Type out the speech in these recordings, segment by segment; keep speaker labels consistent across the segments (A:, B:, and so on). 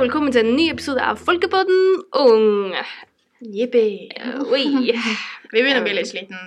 A: velkommen til en ny episode av Folkepodden ung.
B: Jippi.
A: Eh, Oi.
B: Vi begynner å bli litt sliten.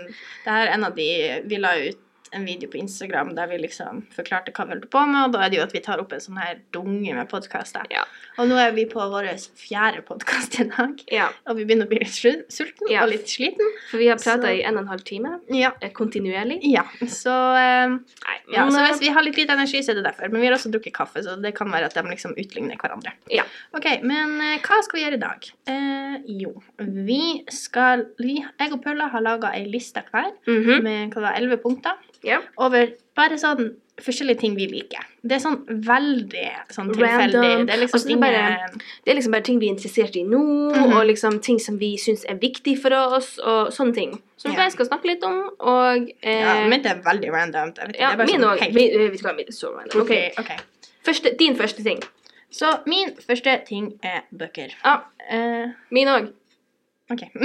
B: Det her er en av de Vi la ut en video på Instagram der vi liksom forklarte hva vi holdt på med, og da er det jo at vi tar opp en sånn her dunge med podkaster.
A: Ja.
B: Og nå er vi på vår fjerde podkast i dag,
A: Ja,
B: og vi begynner å bli litt slu- sulten
A: Ja.
B: og litt sliten.
A: for vi har prata
B: Så-
A: i en og en halv time
B: Ja.
A: eh, kontinuerlig.
B: Ja, så, eh,
A: Nei,
B: ja, så
A: men,
B: hvis vi har litt lite energi, så er det derfor. Men vi har også drukket kaffe, så det kan være at de liksom utligner hverandre.
A: Ja.
B: Ok, men eh, hva skal vi gjøre i dag? Eh, jo, vi skal vi, Jeg og Paula har laga ei liste hver
A: Mhm.
B: med hva da, 11 punkter
A: Ja.
B: over bare sånn forskjellige ting vi liker. Det er sånn veldig sånn tilfeldig.
A: Random.
B: Det er
A: Og
B: liksom
A: så det er bare-
B: ingen-
A: Det er liksom bare ting vi er interessert i nå,
B: Mhm.
A: og liksom ting som vi syns er viktig for oss, og sånne ting. Som vi
B: Ja.
A: bare skal snakke litt om, og eh,
B: ja, mitt er veldig randomt. Jeg vet ikke,
A: ja,
B: det er bare
A: min
B: sånn
A: òg.
B: helt-
A: Vet du hva, min er så random. Ok.
B: Ok, ok.
A: Første, din første ting.
B: Så min første ting er bøker.
A: Ja.
B: Eh,
A: Min òg.
B: ok.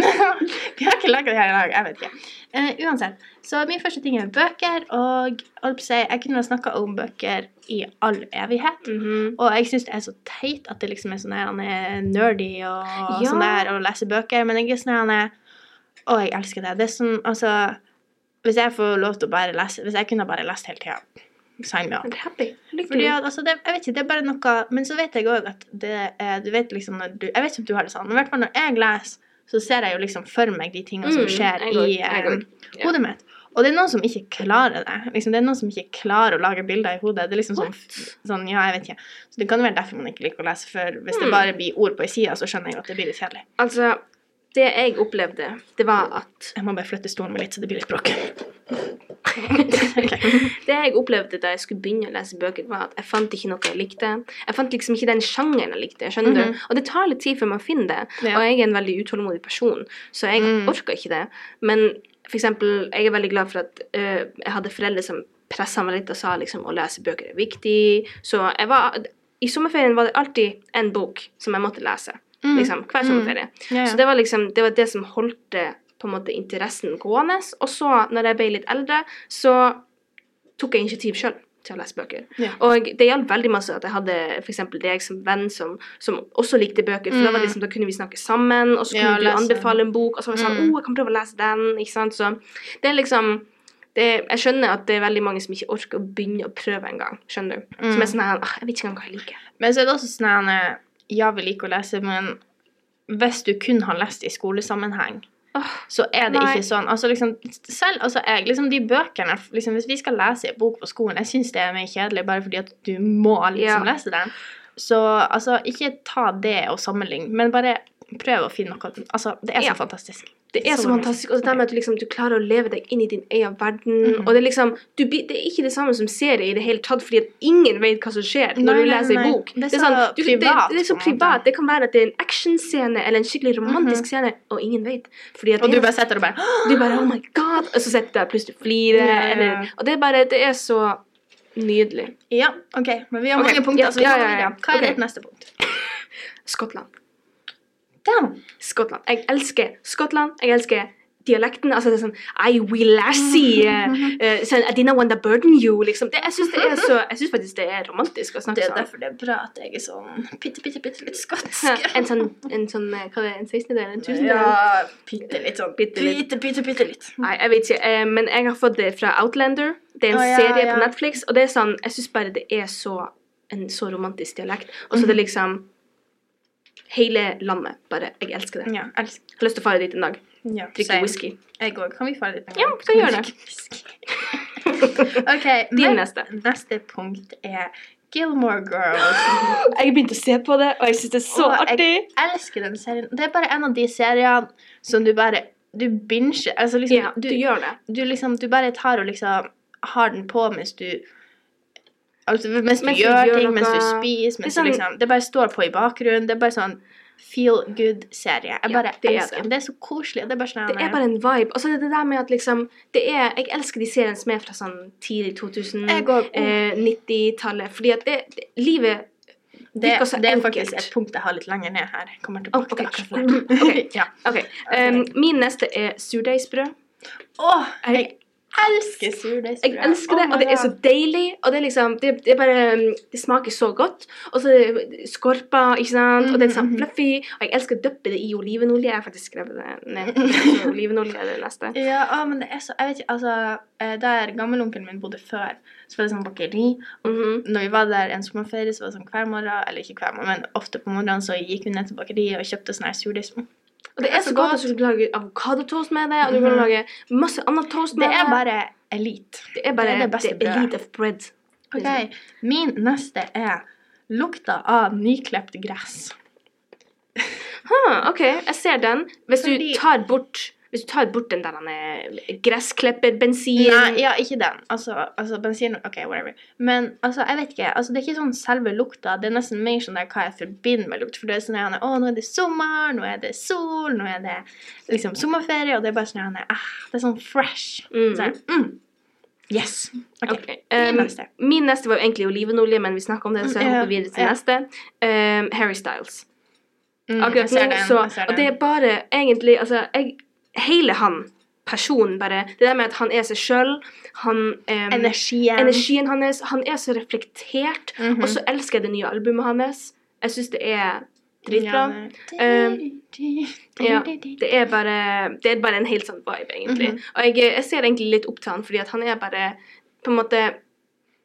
B: vi har ikke laget det her i dag, jeg vet ikke. Eh, uansett, så min første ting er bøker, og holdt på å si, jeg kunne ha snakket om bøker i all evighet. Og jeg syns det er så teit at det liksom er sånn her han er nerdy og
A: Ja.
B: sånn der, og leser bøker, men jeg er sånn her han er Å, jeg elsker det. Det er sånn, altså Hvis jeg får lov til å bare lese Hvis jeg kunne bare lest hele tida, sign me up.
A: Er du happy?
B: Fordi
A: Lykkelig.
B: at, altså, det, jeg vet ikke, det er bare noe Men så vet jeg òg at det er Du vet liksom når du Jeg vet ikke om du har det sånn, men i hvert fall når jeg leser, så ser jeg jo liksom for meg de tingene som
A: Mm,
B: skjer
A: jeg går,
B: i
A: jeg
B: eh,
A: går. Ja.
B: hodet mitt. Og det er noen som ikke klarer det. Liksom, det er noen som ikke klarer å lage bilder i hodet. Det er liksom sånn, sånn Ja, jeg vet ikke. Så det kan være derfor man ikke liker å lese, for hvis
A: Mm.
B: det bare blir ord på ei side, så skjønner jeg at det blir litt kjedelig.
A: Altså, det jeg opplevde, det var at
B: Jeg må bare flytte stolen min litt, så det blir litt bråk.
A: Det jeg opplevde da jeg skulle begynne å lese bøker, var at jeg fant ikke noe jeg likte. Jeg fant liksom ikke den sjangeren jeg likte. skjønner du? Og det tar litt tid før man finner det.
B: Ja.
A: Og jeg er en veldig utålmodig person, så jeg
B: Mm.
A: orker ikke det. Men for eksempel, jeg er veldig glad for at øh, jeg hadde foreldre som pressa meg litt og sa liksom å lese bøker er viktig. Så jeg var I sommerferien var det alltid en bok som jeg måtte lese.
B: Mm.
A: Liksom, hver
B: Mm.
A: sommerferie.
B: Ja,
A: Så
B: ja.
A: det var liksom det, var det som holdt det, på en måte interessen gående. Og så, når jeg ble litt eldre, så tok jeg initiativ sjøl til å lese bøker.
B: Ja.
A: Og det hjalp veldig masse at jeg hadde for eksempel deg som venn som, som også likte bøker. For da, var det liksom, da kunne vi snakke sammen, og så kunne
B: Mm. Ja,
A: du
B: lese.
A: anbefale en bok. Og så var det sånn
B: Mm.
A: Å, jeg kan prøve å lese den. Ikke sant. Så det er liksom det, jeg skjønner at det er veldig mange som ikke orker å begynne å prøve engang. Skjønner du? Som
B: Mm.
A: er sånn her «Ah, Jeg vet ikke engang hva jeg liker.
B: Men så er det også sånn her eh, Ja, vi liker å lese, men hvis du kun har lest i skolesammenheng,
A: Åh,
B: så er det
A: Nei.
B: ikke sånn. Altså liksom, selv altså jeg, liksom de bøkene liksom, Hvis vi skal lese en bok på skolen, jeg syns det er mer kjedelig bare fordi at du må liksom
A: Ja.
B: lese den. Så altså, ikke ta det og sammenligne, men bare prøv å finne noe Altså, det er så
A: Ja.
B: fantastisk.
A: Det er så
B: Så
A: fantastisk. Og det der med at du, liksom, du klarer å leve deg inn i din egen verden.
B: Mhm.
A: Og det er, liksom, du, blir- det er ikke det samme som serie i det hele tatt, fordi at ingen vet hva som skjer når
B: Nei,
A: du
B: nei,
A: leser
B: nei.
A: en bok.
B: Det er
A: sånn,
B: så
A: du, det,
B: privat,
A: det er så
B: på en måte.
A: privat. Det kan være at det er en actionscene eller en skikkelig romantisk
B: Mhm.
A: scene, og ingen vet. Fordi at
B: Og
A: det
B: du
A: er-
B: bare sitter og bare
A: du bare Oh my God! Og så sitter du der plutselig og flirer.
B: Ja, ja, ja.
A: Eller, og det er bare Det er så nydelig.
B: Ja, OK. Men vi har
A: Ok,
B: mange punkter,
A: ja,
B: så vi
A: ja,
B: går
A: ja, ja.
B: videre. Hva er
A: Ok.
B: ditt neste punkt?
A: Skottland.
B: Den.
A: Skottland. Jeg elsker Skottland. Jeg elsker dialekten. Altså, det er sånn I will lassie. eh, sånn, I didn't want to burden you. Liksom. Det, jeg syns det er så Jeg synes faktisk det er romantisk å
B: Det
A: snakke
B: er
A: sånn.
B: derfor det er bra at jeg er sånn bitte, bitte, bitte litt
A: Ja,
B: skotsk.
A: En sånn, en sånn eh, Hva er det, en 16-del? En 1000-del?
B: Ja, bitte litt sånn.
A: Bitte litt.
B: Bitte, bitte, bitte litt.
A: Nei, jeg vet ikke. eh, Men jeg har fått det fra Outlander. Det er en
B: Å, ja,
A: serie
B: ja.
A: på Netflix, og det er sånn Jeg syns bare det er så en så romantisk dialekt. Og så er
B: Mhm.
A: det liksom Hele landet, bare. Jeg elsker det.
B: Ja, elsker.
A: Jeg har lyst til å fare dit en dag.
B: Ja,
A: Drikke
B: same.
A: whisky.
B: Jeg òg. Kan vi få litt?
A: Ja, vi kan gjøre det.
B: OK.
A: Din
B: men
A: neste.
B: neste punkt er Gilmore Girls.
A: Jeg begynte å se på det, og jeg syns det er så
B: Og jeg-
A: artig.
B: Jeg elsker den serien. Det er bare en av de seriene som du bare Du binger. Altså liksom,
A: Ja, du
B: du,
A: gjør det.
B: du liksom Du bare tar og liksom har den på mens du Altså, mens du
A: Mens du
B: gjør,
A: gjør
B: ting, mens du
A: noe.
B: spiser, mens
A: Det er
B: du
A: sånn-
B: liksom Det bare står på i bakgrunnen. Det er bare sånn feel good-serie. Jeg
A: Ja,
B: bare
A: det er
B: elsker
A: det.
B: den. Det er så koselig. Det er bare sånn
A: Det er bare en vibe. Og så er det det der med at liksom det er, Jeg elsker de seriene som er fra sånn tidlig 2000,
B: Jeg går-
A: eh, 90-tallet. Fordi at det, det, livet
B: Det,
A: virker så
B: det er
A: enkelt.
B: faktisk et punkt jeg har litt lenger ned her. Jeg kommer
A: Å,
B: tilbake
A: OK.
B: til akkurat det.
A: ok, eh,
B: ja.
A: ok. Um, min neste er surdeigsbrød.
B: Åh, jeg elsker surdeigsbrød.
A: Jeg elsker det,
B: Oh my
A: og det er så
B: God.
A: deilig. Og det er liksom Det, det er bare mm, Det smaker så godt. Og så er det skorpa, ikke sant. Og det er sånn
B: Mhm, mhm.
A: fluffy. Og jeg elsker å dyppe det i olivenolje. Jeg har faktisk skrevet det ned. Så Olivenolje er det neste.
B: Ja, å, men det er så Jeg vet ikke, altså eh, Der gammelonkelen min bodde før, så var det sånn bakeri.
A: Mhm.
B: Når vi var der en sommerferie, så var det sånn hver morgen, eller ikke hver morgen, men ofte på morgenen, så gikk vi ned til bakeriet og kjøpte sånn her surdeigsbrød.
A: Og det er så godt. Og så kan du lage avokadotoast med det, og du kan
B: Altså, Mhm.
A: lage masse annen toast med
B: Det
A: det.
B: er bare elite.
A: det er bare
B: det er det beste
A: the elite
B: brødet.
A: of bread.
B: Ok, Min neste er lukta av nyklipt gress.
A: Ah, OK, jeg ser den. Hvis du
B: Fordi-
A: tar bort hvis du tar bort den der derne gressklipperbensinen
B: Nei, ja, ikke den. Altså, altså bensin OK, whatever. Men altså, jeg vet ikke. Altså, det er ikke sånn selve lukta. Det er nesten mer sånn der hva jeg forbinder med lukt. For det er sånn at Å, nå er det sommer, nå er det sol, nå er det liksom sommerferie, og det er bare sånn at ah, Det er sånn fresh.
A: Mm.
B: Så, jeg, mm. Yes. OK.
A: Ok, ehm,
B: min neste.
A: min neste var jo egentlig olivenolje, men vi snakka om det, så jeg
B: Mm, ja,
A: hopper videre til
B: ja.
A: neste. Ehm, Harry Styles.
B: Mm,
A: Akkurat nå, så Og det er bare egentlig Altså, jeg Hele han, personen, bare Det der med at han er seg sjøl, han ehm,
B: Energien.
A: Energien hans. Han er så reflektert.
B: Mhm.
A: Og så elsker jeg det nye albumet hans. Jeg syns det er dritbra. Ehm, ja, Det er bare Det er bare en helt sånn vibe, egentlig.
B: Mhm.
A: Og jeg, jeg ser egentlig litt opp til han, fordi at han er bare På en måte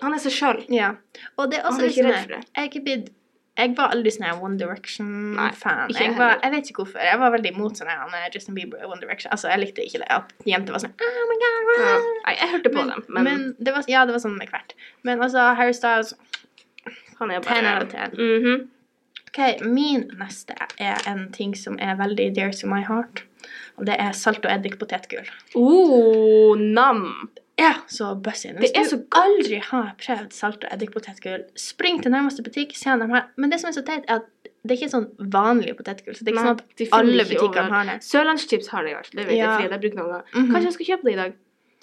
A: Han er seg sjøl.
B: Ja. Og det er
A: Han
B: også
A: er
B: litt
A: ikke
B: sånn
A: redd
B: her-
A: for det.
B: jeg, er ikke blitt, jeg var aldri sånn her One
A: Nei,
B: Direction-fan.
A: ikke jeg
B: Jeg, var-
A: heller.
B: jeg vet ikke hvorfor. Jeg var veldig imot sånn her han er Justin Bieber og One Direction. Altså, Jeg likte ikke det at jenter var sånn Oh my god,
A: Ja.
B: wow.
A: Nei, jeg hørte på dem, men,
B: det var, Ja, det var sånn med hvert. Men altså, Harry Styles
A: han er bare
B: 10 out of 10.
A: Mhm.
B: OK, min neste er en ting som er veldig dear to my heart. Og det er salt og eddik potetgull.
A: Oh, nam!
B: Ja, så buzzing. Hvis
A: Det er
B: du
A: så godt.
B: aldri har prøvd salt og eddik-potetgull, spring til nærmeste butikk, se om de har Men det som er så teit, er at det er ikke sånn vanlig potetgull. Så det er ikke
A: Nei,
B: sånn at
A: de finner
B: alle
A: ikke
B: butikkene
A: overalt.
B: har det.
A: Sørlandschips har det i hvert fall. Det vet
B: Ja.
A: jeg, fordi jeg har brukt noen ganger.
B: Mhm.
A: Kanskje jeg skal kjøpe det i dag.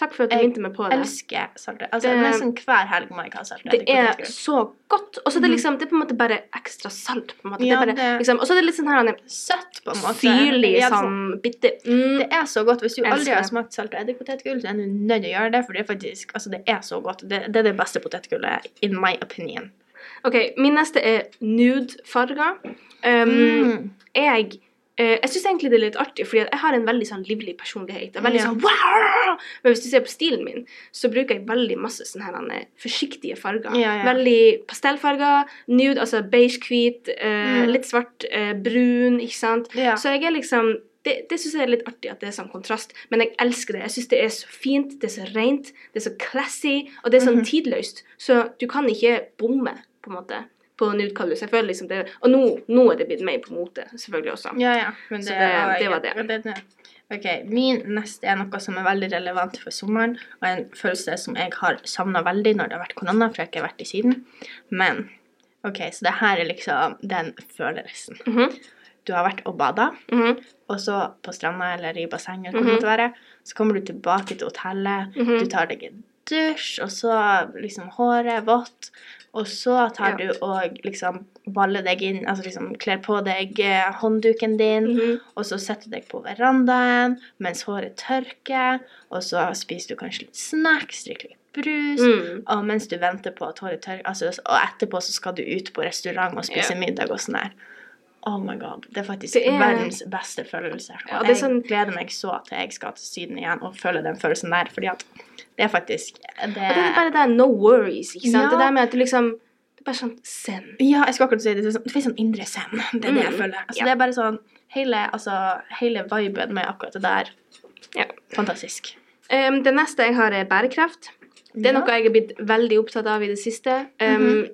A: Takk for at du
B: Jeg
A: minte meg på det.
B: Elsker salt og Altså,
A: Det-
B: nesten hver helg må jeg ha salt og
A: Det er
B: eddik-potetgull.
A: så godt. Og så er det
B: Mhm.
A: liksom Det er på en måte bare ekstra salt. på en måte.
B: Ja,
A: det er bare,
B: det-
A: liksom, og så er det litt sånn her han er
B: Søtt, på en måte.
A: syrlig
B: Ja, det er sånn-
A: sånn bitte mm.
B: Det er så godt. Hvis du
A: Elsker
B: aldri har
A: det.
B: smakt salt og eddik-potetgull, så er du nødt til å gjøre det, for det er faktisk Altså, det er så godt. Det, det er det beste potetgullet, in my opinion.
A: OK, min neste er nude-farger. Um,
B: Mm.
A: jeg eh, jeg syns egentlig det er litt artig, fordi at jeg har en veldig sånn livlig personlighet. Og veldig
B: Ja.
A: sånn wow! Men hvis du ser på stilen min, så bruker jeg veldig masse sånne her eh, forsiktige farger.
B: Ja, ja.
A: Veldig pastellfarger, nude, altså beige, hvit, eh,
B: Mm.
A: litt svart, eh, brun, ikke sant.
B: Ja.
A: Så jeg er liksom det, det syns jeg er litt artig at det er sånn kontrast, men jeg elsker det. Jeg syns det er så fint, det er så rent, det er så classy, og det er sånn
B: Mhm.
A: tidløst. Så du kan ikke bomme, på en måte, på nude colors. Jeg føler liksom det Og nå, nå er det blitt mer på mote, selvfølgelig også.
B: Ja, ja. Men det,
A: Så det-
B: og jeg-
A: det var det.
B: og Ok, Min neste er noe som er veldig relevant for sommeren, og en følelse som jeg har savna veldig når det har vært korona, for jeg har ikke vært i Syden. Men OK, så det her er liksom den følelsen.
A: Mhm,
B: Du har vært og bada,
A: mhm,
B: og så på stranda eller i bassenget, eller hvor
A: Mhm.
B: det måtte være, så kommer du tilbake til hotellet,
A: mhm.
B: du tar deg en dusj, og så liksom håret vått, og så
A: Ja.
B: tar du og liksom baller deg inn, altså liksom kler på deg eh, håndduken din,
A: Mhm.
B: og så setter du deg på verandaen mens håret tørker, og så spiser du kanskje litt snacks, drikker litt brus,
A: Mm.
B: og mens du venter på at håret tørker, altså, og etterpå så skal du ut på restaurant og spise
A: Ja.
B: middag og sånn der. Oh my god, Det er faktisk
A: Det er-
B: verdens beste følelse. Og
A: Ja, det er sånn-
B: Jeg gleder meg så til jeg skal til Syden igjen og føle den følelsen der, fordi at det er faktisk det...
A: Og det er bare det der no worries, ikke sant.
B: Ja.
A: Det der med at du liksom Det er bare sånn zen.
B: Ja, jeg skulle akkurat si det. Det er sånn, det finnes en indre zen. Det er det jeg
A: Mm,
B: føler. Altså,
A: ja.
B: Det er bare sånn hele, altså, hele viben med akkurat det der.
A: Ja.
B: Fantastisk.
A: Um, det neste jeg har, er bærekraft. Det er noe jeg har blitt veldig opptatt av i det siste. Um,
B: Mhm.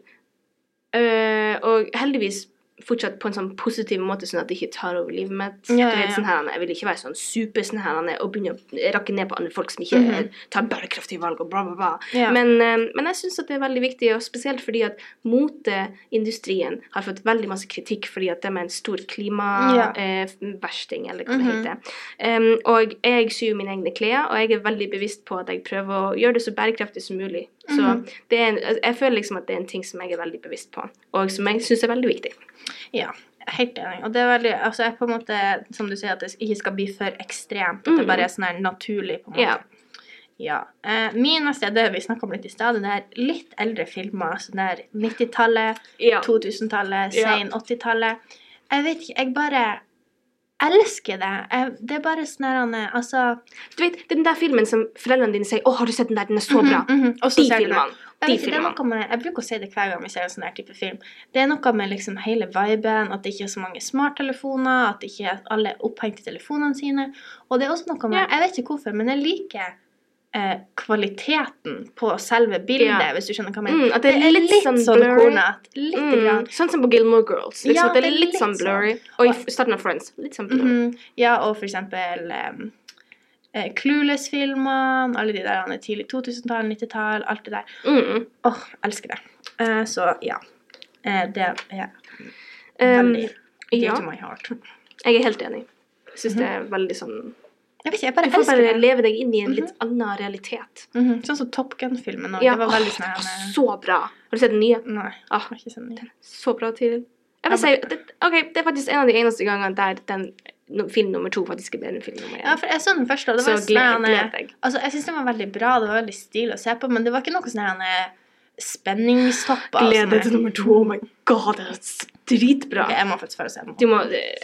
A: øh, og heldigvis fortsatt på en sånn positiv måte, sånn at det ikke tar over livet mitt.
B: Ja, ja,
A: Du vet,
B: ja.
A: sånn her, jeg vil ikke være sånn super sånn her, og begynne å rakke ned på andre folk som ikke
B: Mhm.
A: eh, tar bærekraftige valg og bla, bla, bla.
B: Ja.
A: Men, eh, men jeg syns det er veldig viktig, og spesielt fordi at moteindustrien har fått veldig masse kritikk fordi at de er en stor
B: Ja.
A: klimaversting, eller hva det
B: Mhm.
A: heter. Em, og jeg syr mine egne klær, og jeg er veldig bevisst på at jeg prøver å gjøre det så bærekraftig som mulig. Så
B: Mhm.
A: det er en, jeg føler liksom at det er en ting som jeg er veldig bevisst på, og som jeg syns er veldig viktig.
B: ja. Helt enig. Og det er veldig Altså, jeg på en måte Som du sier, at det ikke skal bli for ekstremt. At det
A: Mm.
B: bare er sånn her naturlig, på en måte.
A: Ja.
B: Ja. Eh, min neste er det vi snakka om litt i stad. Det er litt eldre filmer. Sånn der 90-tallet,
A: Ja.
B: 2000-tallet,
A: Ja.
B: sen 80-tallet. Jeg vet ikke, jeg bare elsker det. Jeg, det er bare sånn her Anne, Altså
A: Du vet, det er den der filmen som foreldrene dine sier 'Å, har du sett den der? Den er Mm-hmm, så bra'.
B: Mhm, mhm. Og så
A: De
B: ser du det.
A: filmene. De
B: Jeg, vet ikke, det er noe med, jeg bruker å si det hver gang vi ser en sånn her type film. Det er noe med liksom hele viben, at det ikke er så mange smarttelefoner, at ikke alle er opphengt i telefonene sine. Og det er også noe med
A: Ja.
B: Jeg vet ikke hvorfor, men jeg liker eh, kvaliteten på selve bildet,
A: Ja.
B: hvis du skjønner hva jeg mener.
A: Mm, at det er litt, sånn blurry.
B: kornete. Litt
A: Mm,
B: grann.
A: sånn som på Gilmore Girls. Liksom,
B: Ja,
A: at det er litt, sånn blurry. Og i
B: Og-
A: f- starten av Friends. Litt sånn blurry.
B: Mhm. Ja, og for eksempel um, Clueless-filmene, alle de der han er tidlig 2000-tall, 90-tall, alt det der.
A: mm. mm.
B: Åh, elsker det. Eh, så ja. Eh, det er
A: Um,
B: veldig dear
A: ja,
B: to my heart.
A: jeg er helt enig. Jeg syns det er veldig sånn
B: Jeg vet ikke, Mhm. jeg
A: Du
B: bare
A: får
B: elsker
A: bare
B: det.
A: leve deg inn i en litt annen realitet.
B: Mhm, Sånn som Top Gun-filmen òg.
A: Ja,
B: Det var
A: åh,
B: veldig sånn
A: det var
B: her
A: så bra! Har du sett den nye?
B: med- Nei,
A: Ah,
B: jeg har ikke sett den. igjen.
A: så bra, Tiril. Jeg vil si, det, ok, det er faktisk en av de eneste gangene der den, no, film nummer to faktisk er bedre enn film nummer én.
B: Ja, for jeg så den første, og det
A: så
B: var sånn her,
A: gled, gled
B: han, eh,
A: deg.
B: Altså, jeg syns den var veldig bra, det var veldig stilig å se på, men det var ikke noe sånn her han, eh, spenningstopper. og sånn
A: Gled deg
B: her.
A: til nummer to. Oh my god, det er s- dritbra!
B: Ok, jeg må faktisk få se den.
A: Du må, det,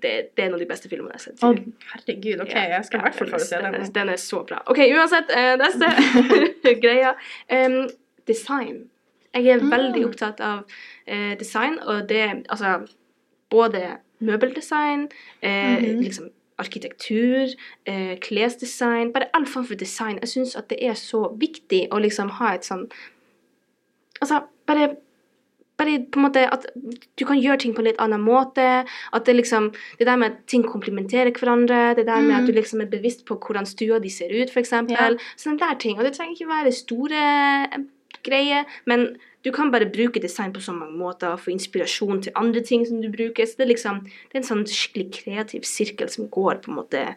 A: det, det er en av de beste filmene jeg har sett.
B: Å,
A: Tiril.
B: herregud, OK,
A: Ja,
B: jeg skal i
A: ja,
B: hvert fall
A: den
B: få
A: er-
B: se
A: den. er-
B: den.
A: Den er så bra. OK, uansett, eh, neste greia. Em, design. Jeg er
B: Mm.
A: veldig opptatt av eh, design, og det Altså både møbeldesign, eh,
B: Mhm.
A: liksom arkitektur, eh, klesdesign Bare all form for design. Jeg syns at det er så viktig å liksom ha et sånn Altså, bare bare på en måte at du kan gjøre ting på en litt annen måte. At det liksom Det der med at ting komplementerer hverandre. Det der med at du
B: Mm.
A: liksom er bevisst på hvordan stua di ser ut, f.eks.
B: Ja.
A: eksempel Sånne der ting. Og det trenger ikke være store eh, greier, men du kan bare bruke design på så mange måter og få inspirasjon til andre ting som du bruker. Så det er liksom Det er en sånn skikkelig kreativ sirkel som går på en måte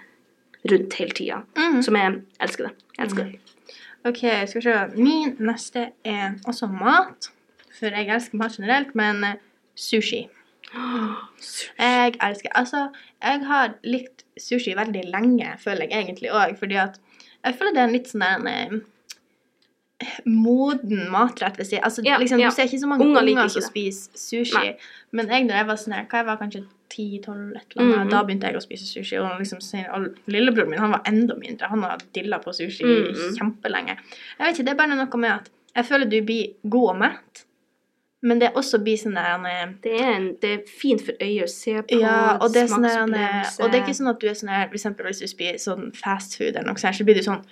A: rundt hele tida.
B: Mm.
A: Som jeg elsker det. Jeg elsker det.
B: Ok, skal vi se. Min neste er også mat. For jeg elsker mat generelt, men eh, sushi. Jeg elsker Altså, jeg har likt sushi veldig lenge, føler jeg egentlig òg. Fordi at jeg føler det er en litt sånn der en, eh, moden matrett, hvis jeg Altså,
A: Ja,
B: liksom,
A: ja.
B: du ser ikke så mange
A: Unger
B: unger,
A: liker ikke
B: som
A: det.
B: spiser sushi.
A: Nei.
B: Men jeg, da jeg var sånn her, hva jeg var kanskje 10-12, et eller annet,
A: Mhm.
B: da begynte jeg å spise sushi. Og liksom, sen- og lillebroren min han var enda mindre. Han har dilla på sushi
A: Mhm.
B: kjempelenge. Jeg vet ikke, Det er bare noe med at jeg føler du blir god og mett, men det også blir sånn der en, eh,
A: Det er, en, det er fint for øyet å se på.
B: ja, og det, er sånn her,
A: smaksopplevelse.
B: og det er ikke sånn at du er sånn her For eksempel hvis du spiser sånn fast food eller noe sånt, så blir du sånn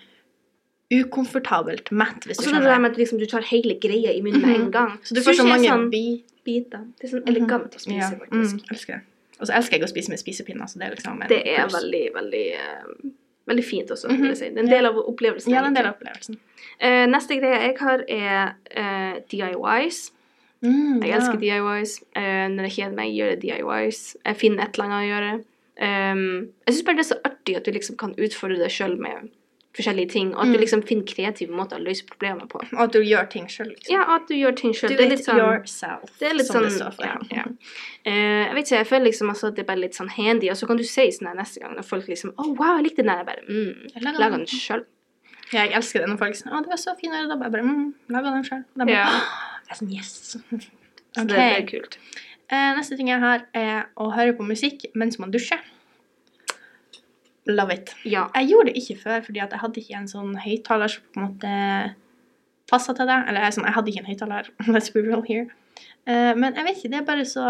B: ukomfortabelt mett, hvis
A: Og
B: du
A: så det der
B: skjønner.
A: med at liksom, du tar hele greia i munnen med en
B: Mhm.
A: gang.
B: Så du får
A: Sushi
B: så
A: er
B: mange
A: sånn
B: biter.
A: biter. Det er sånn elegant å spise,
B: ja.
A: faktisk.
B: Mm, elsker det. Og så elsker jeg å spise med spisepinner, så det er liksom en
A: Det er
B: pluss.
A: veldig, veldig eh, Veldig fint også,
B: Mhm.
A: vil jeg si. Det er en del av opplevelsen.
B: Ja, det er en del
A: egentlig.
B: av opplevelsen.
A: Eh, neste greie jeg har, er eh, DIYs.
B: Mm,
A: Jeg elsker DIYs. Eh, når jeg kjeder meg, gjør jeg DIYs. Jeg finner et eller annet å gjøre. Ehm, jeg syns bare det er så artig at du liksom kan utfordre deg sjøl med forskjellige ting, og at du
B: Mm.
A: liksom finner kreative måter å løse problemer på.
B: Og at du gjør ting sjøl, liksom.
A: Ja, og at du gjør ting sjøl.
B: Do it yourself,
A: sånn- Det er litt
B: som
A: sånn,
B: det står for.
A: ja, ja. Eh, jeg vet ikke, jeg føler liksom altså at det er bare litt sånn handy, og så kan du si sånn her neste gang når folk liksom Å, wow, jeg likte den der. Jeg bare mm,
B: Jeg lager
A: Laga
B: den.
A: den sjøl.
B: Ja, jeg elsker det når folk sier 'Å, det var så fin øredobb'. Jeg bare mm, 'Laga den sjøl'. Og de bare
A: Ja.
B: «Åh!» Jeg er sånn 'Yes'.
A: Så det,
B: Ok.
A: det er kult.
B: Eh, neste ting jeg har, er å høre på musikk mens man dusjer. Love it.
A: Ja.
B: Jeg gjorde det ikke før, fordi at jeg hadde ikke en sånn høyttaler som på en måte passa til det. Eller sånn, jeg hadde ikke en høyttaler. Let's be real here. Eh, men jeg vet ikke, det er bare så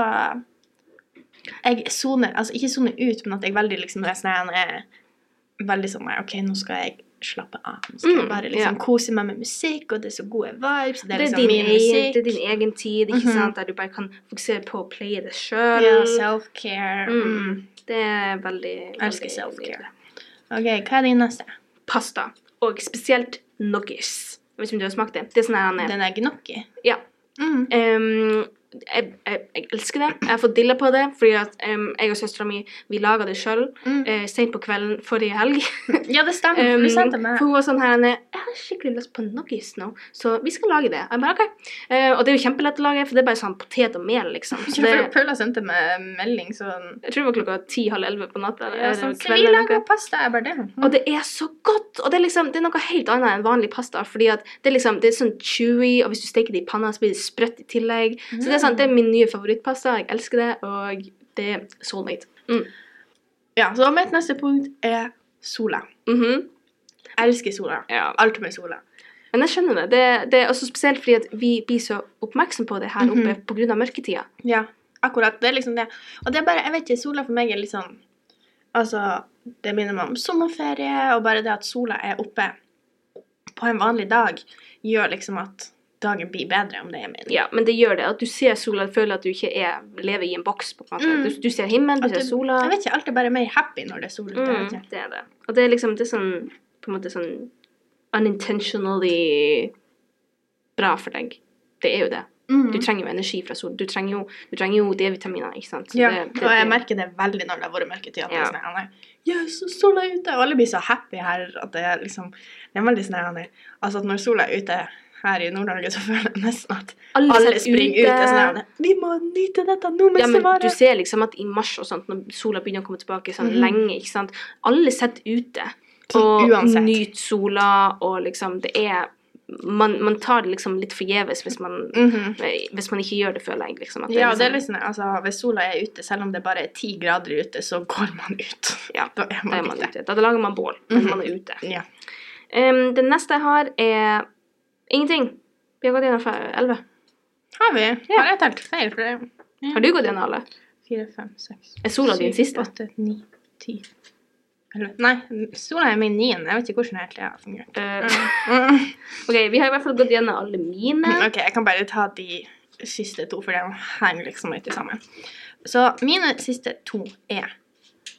B: Jeg soner Altså ikke soner ut, men at jeg veldig liksom når jeg sånn, jeg er veldig sånn nei, OK, nå skal jeg slappe av. Nå skal jeg
A: Mm,
B: bare liksom
A: ja.
B: kose meg med musikk, og det er så gode vibes, og det
A: Det
B: er
A: er,
B: liksom
A: din
B: min
A: egen,
B: musikk.
A: det er din egen tid, ikke
B: Mhm.
A: sant, der du bare kan fokusere på å playe det sjøl.
B: Ja, self-care.
A: Mm.
B: Mm.
A: det er veldig
B: elsker
A: veldig
B: self-care.
A: nydelig.
B: OK, hva er din neste?
A: Pasta, og spesielt nuggets. Jeg vet ikke om du har smakt det. Det er sånn her han er.
B: Den er gnocchi.
A: Ja.
B: Mm.
A: Ehm, jeg, jeg, jeg elsker det. Jeg har fått dilla på det, fordi at ehm, jeg og søstera mi vi laga det sjøl
B: Mm.
A: uh, seint på kvelden forrige helg.
B: Ja, det stemmer. for
A: Um,
B: du sendte meg.
A: for hun var sånn her Anne, Jeg har har skikkelig lyst på Nuggies nå, så vi skal lage det. Jeg bare, ok. Eh, og det er jo kjempelett å lage, for det er bare sånn potet og mel, liksom. Så det,
B: For Paula sendte meg melding sånn
A: jeg tror det var klokka ti-halv elleve på natta.
B: ja,
A: eller
B: sånn, Så
A: kvelden
B: vi
A: eller noe.
B: lager pasta. Jeg bare det.
A: Og det er så godt! Og det er, liksom, det er noe helt annet enn vanlig pasta. Fordi at det er, liksom, det er sånn chewy, og hvis du steker det i panna, så blir det sprøtt i tillegg. Så det er, sånn, det er min nye favorittpasta. Jeg elsker det, og det er soulmate. Mm.
B: Ja, så mitt neste punkt er sola.
A: Mhm.
B: Jeg elsker sola.
A: ja.
B: Alt med sola.
A: Men jeg skjønner det. det. Det er også spesielt fordi at vi blir så oppmerksom på det her oppe
B: Mhm.
A: på grunn av mørketida.
B: Ja, akkurat. Det er liksom det. Og det er bare, jeg vet ikke, sola for meg er litt sånn Altså, det minner meg om sommerferie, og bare det at sola er oppe på en vanlig dag, gjør liksom at dagen blir bedre, om det er min.
A: Ja, men det gjør det. At du ser sola, føler at du ikke er, lever i en boks. på en måte.
B: Mm.
A: Du, du ser himmelen, du
B: At
A: ser
B: det-
A: sola.
B: Jeg vet ikke, alt er bare mer happy når det er sol ute. jeg
A: Mm,
B: vet ikke.
A: det er det. Og det er liksom det er sånn på en måte sånn unintentionally bra for deg. Det er jo det. Du
B: Mm.
A: trenger jo energi fra sol. Du trenger jo, du trenger jo D-vitaminer, ikke sant. Så
B: Ja,
A: det, det,
B: og jeg
A: det-
B: merker det veldig når det har vært mørketid. At det
A: Ja.
B: er sånn her, nei, yes, sola er ute! Og alle blir så happy her. At det er liksom Det er veldig sånn her, nei, Altså, at når sola er ute her i Nord-Norge, så føler jeg nesten at alle
A: sitter
B: springer ut. og Sånn, her, vi må nyte dette nå mens
A: Ja,
B: det
A: men du
B: varer!
A: ser liksom at i mars og sånt, når sola begynner å komme tilbake sånn
B: Mhm.
A: lenge, ikke sant. Alle sitter ute
B: Sånn
A: og
B: uansett.
A: nyter sola, og liksom det er man, man tar det liksom litt forgjeves hvis man,
B: Mhm.
A: hvis man ikke gjør det, føler jeg. liksom. At
B: Ja, det er liksom, altså, hvis sola er ute, selv om det bare er ti grader ute, så går man ut.
A: Ja,
B: da er
A: Da er
B: man
A: man
B: ute.
A: ute. Da lager man bål, men
B: Mhm.
A: man er ute.
B: Ja.
A: Em, det neste jeg har, er ingenting. Vi har gått gjennom fra 11.
B: Har vi?
A: Ja.
B: Har jeg telt feil? For det
A: Har du gått gjennom alle?
B: Fire, fem, seks
A: Er sola din
B: syv,
A: siste?
B: åtte, ni, ti Eller, Nei, sola er min niende. Jeg vet ikke hvordan jeg egentlig har fungert.
A: Eh,
B: Mm.
A: OK, vi har i hvert fall gått gjennom alle mine.
B: OK, jeg kan bare ta de siste to, for de henger liksom litt sammen. Så mine siste to er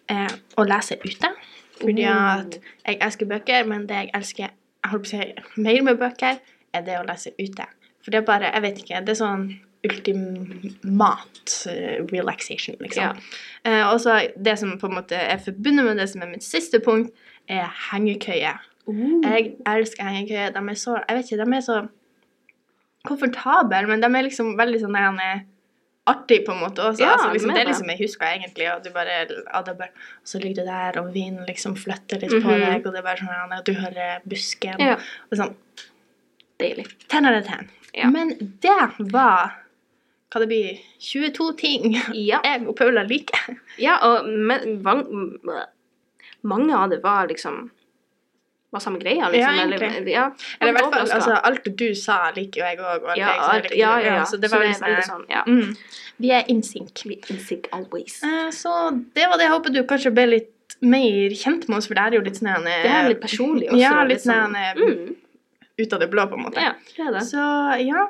B: eh, å lese ute. Fordi at jeg elsker bøker, men det jeg elsker jeg holdt på å si, mer med bøker, er det å lese ute. For det er bare Jeg vet ikke. Det er sånn ultimat eh, relaxation, liksom.
A: Ja.
B: Eh, og så det som på en måte er forbundet med det som er mitt siste punkt, er hengekøye.
A: Eh,
B: Jeg elsker hengekøye. De er så Jeg vet ikke, de er så komfortable, men de er liksom veldig sånn han er artig på en måte også.
A: Ja,
B: altså, liksom,
A: de er
B: det er
A: det.
B: liksom jeg husker egentlig, og du bare, ja, det er bare og så ligger du der, og vinden liksom flytter litt på
A: Mhm.
B: deg, og det er bare sånn han er, og du hører busken,
A: Ja.
B: og sånn,
A: Deilig.
B: 10 av 10.
A: Ja.
B: Men det var, hva det blir, 22 ting
A: Ja.
B: jeg og Paula liker.
A: ja og men, vang, m- mange av det var liksom Var samme greia, liksom.
B: Ja, egentlig.
A: eller, ja,
B: Eller i hvert fall,
A: overrasket.
B: altså, alt du sa liker jo jeg også,
A: ja,
B: og jeg,
A: alt,
B: likte det,
A: ja, ja, ja.
B: så det var liksom,
A: veldig sånn ja.
B: mm, vi er in sync.
A: We in sync always.
B: Eh, Så det var det jeg håper du kanskje ble litt mer kjent med oss, for det her er jo litt sånn her,
A: Det er litt personlig også.
B: Ja, litt
A: liksom.
B: sånn, eh,
A: mm,
B: ut av det blå, på en måte.
A: Ja, det er det.
B: Så ja,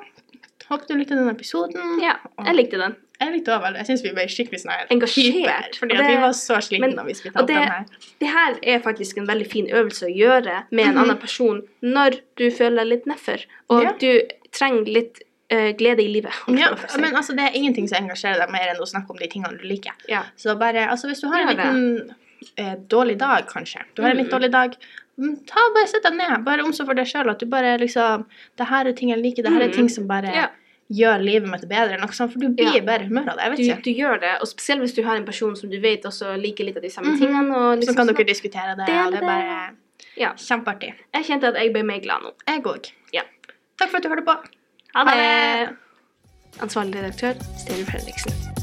B: håper du likte denne episoden.
A: Ja, jeg likte den.
B: Jeg likte også veldig. Jeg syns vi ble skikkelig sånn her
A: Engasjert,
B: hyper, Fordi
A: og
B: at vi
A: det-
B: var så slitne
A: men-
B: da vi skulle
A: og
B: ta opp
A: det-
B: den her.
A: Det her er faktisk en veldig fin øvelse å gjøre med en
B: Mhm.
A: annen person når du føler deg litt nedfor, og
B: Ja.
A: du trenger litt eh, glede i livet. holdt
B: Ja,
A: jeg på å si.
B: men altså, det er ingenting som engasjerer deg mer enn å snakke om de tingene du liker.
A: ja.
B: Så bare, altså hvis du har
A: Gjør det.
B: en liten eh, dårlig dag, kanskje. Du har en litt
A: Mm.
B: dårlig dag. mm, Ta og bare Sett deg ned. Bare omsorg for deg sjøl. At du bare liksom Det her er ting jeg liker. Det her
A: Mm.
B: er ting som bare
A: Ja.
B: gjør livet mitt bedre. eller Noe sånt, for du blir
A: Ja.
B: i bedre humør av det. Jeg vet
A: Du,
B: ikke.
A: du gjør det, og spesielt hvis du har en person som du vet også liker litt av de samme
B: Mhm.
A: tingene. Og liksom
B: Så kan dere
A: sånn.
B: diskutere det.
A: Del
B: og det
A: det.
B: er bare
A: Ja.
B: kjempeartig.
A: Jeg kjente at jeg ble mer glad nå.
B: Jeg òg.
A: Ja.
B: Takk for at du hørte på.
A: Ha
B: Ha
A: det! Ansvarlig redaktør, Stine Fredriksen.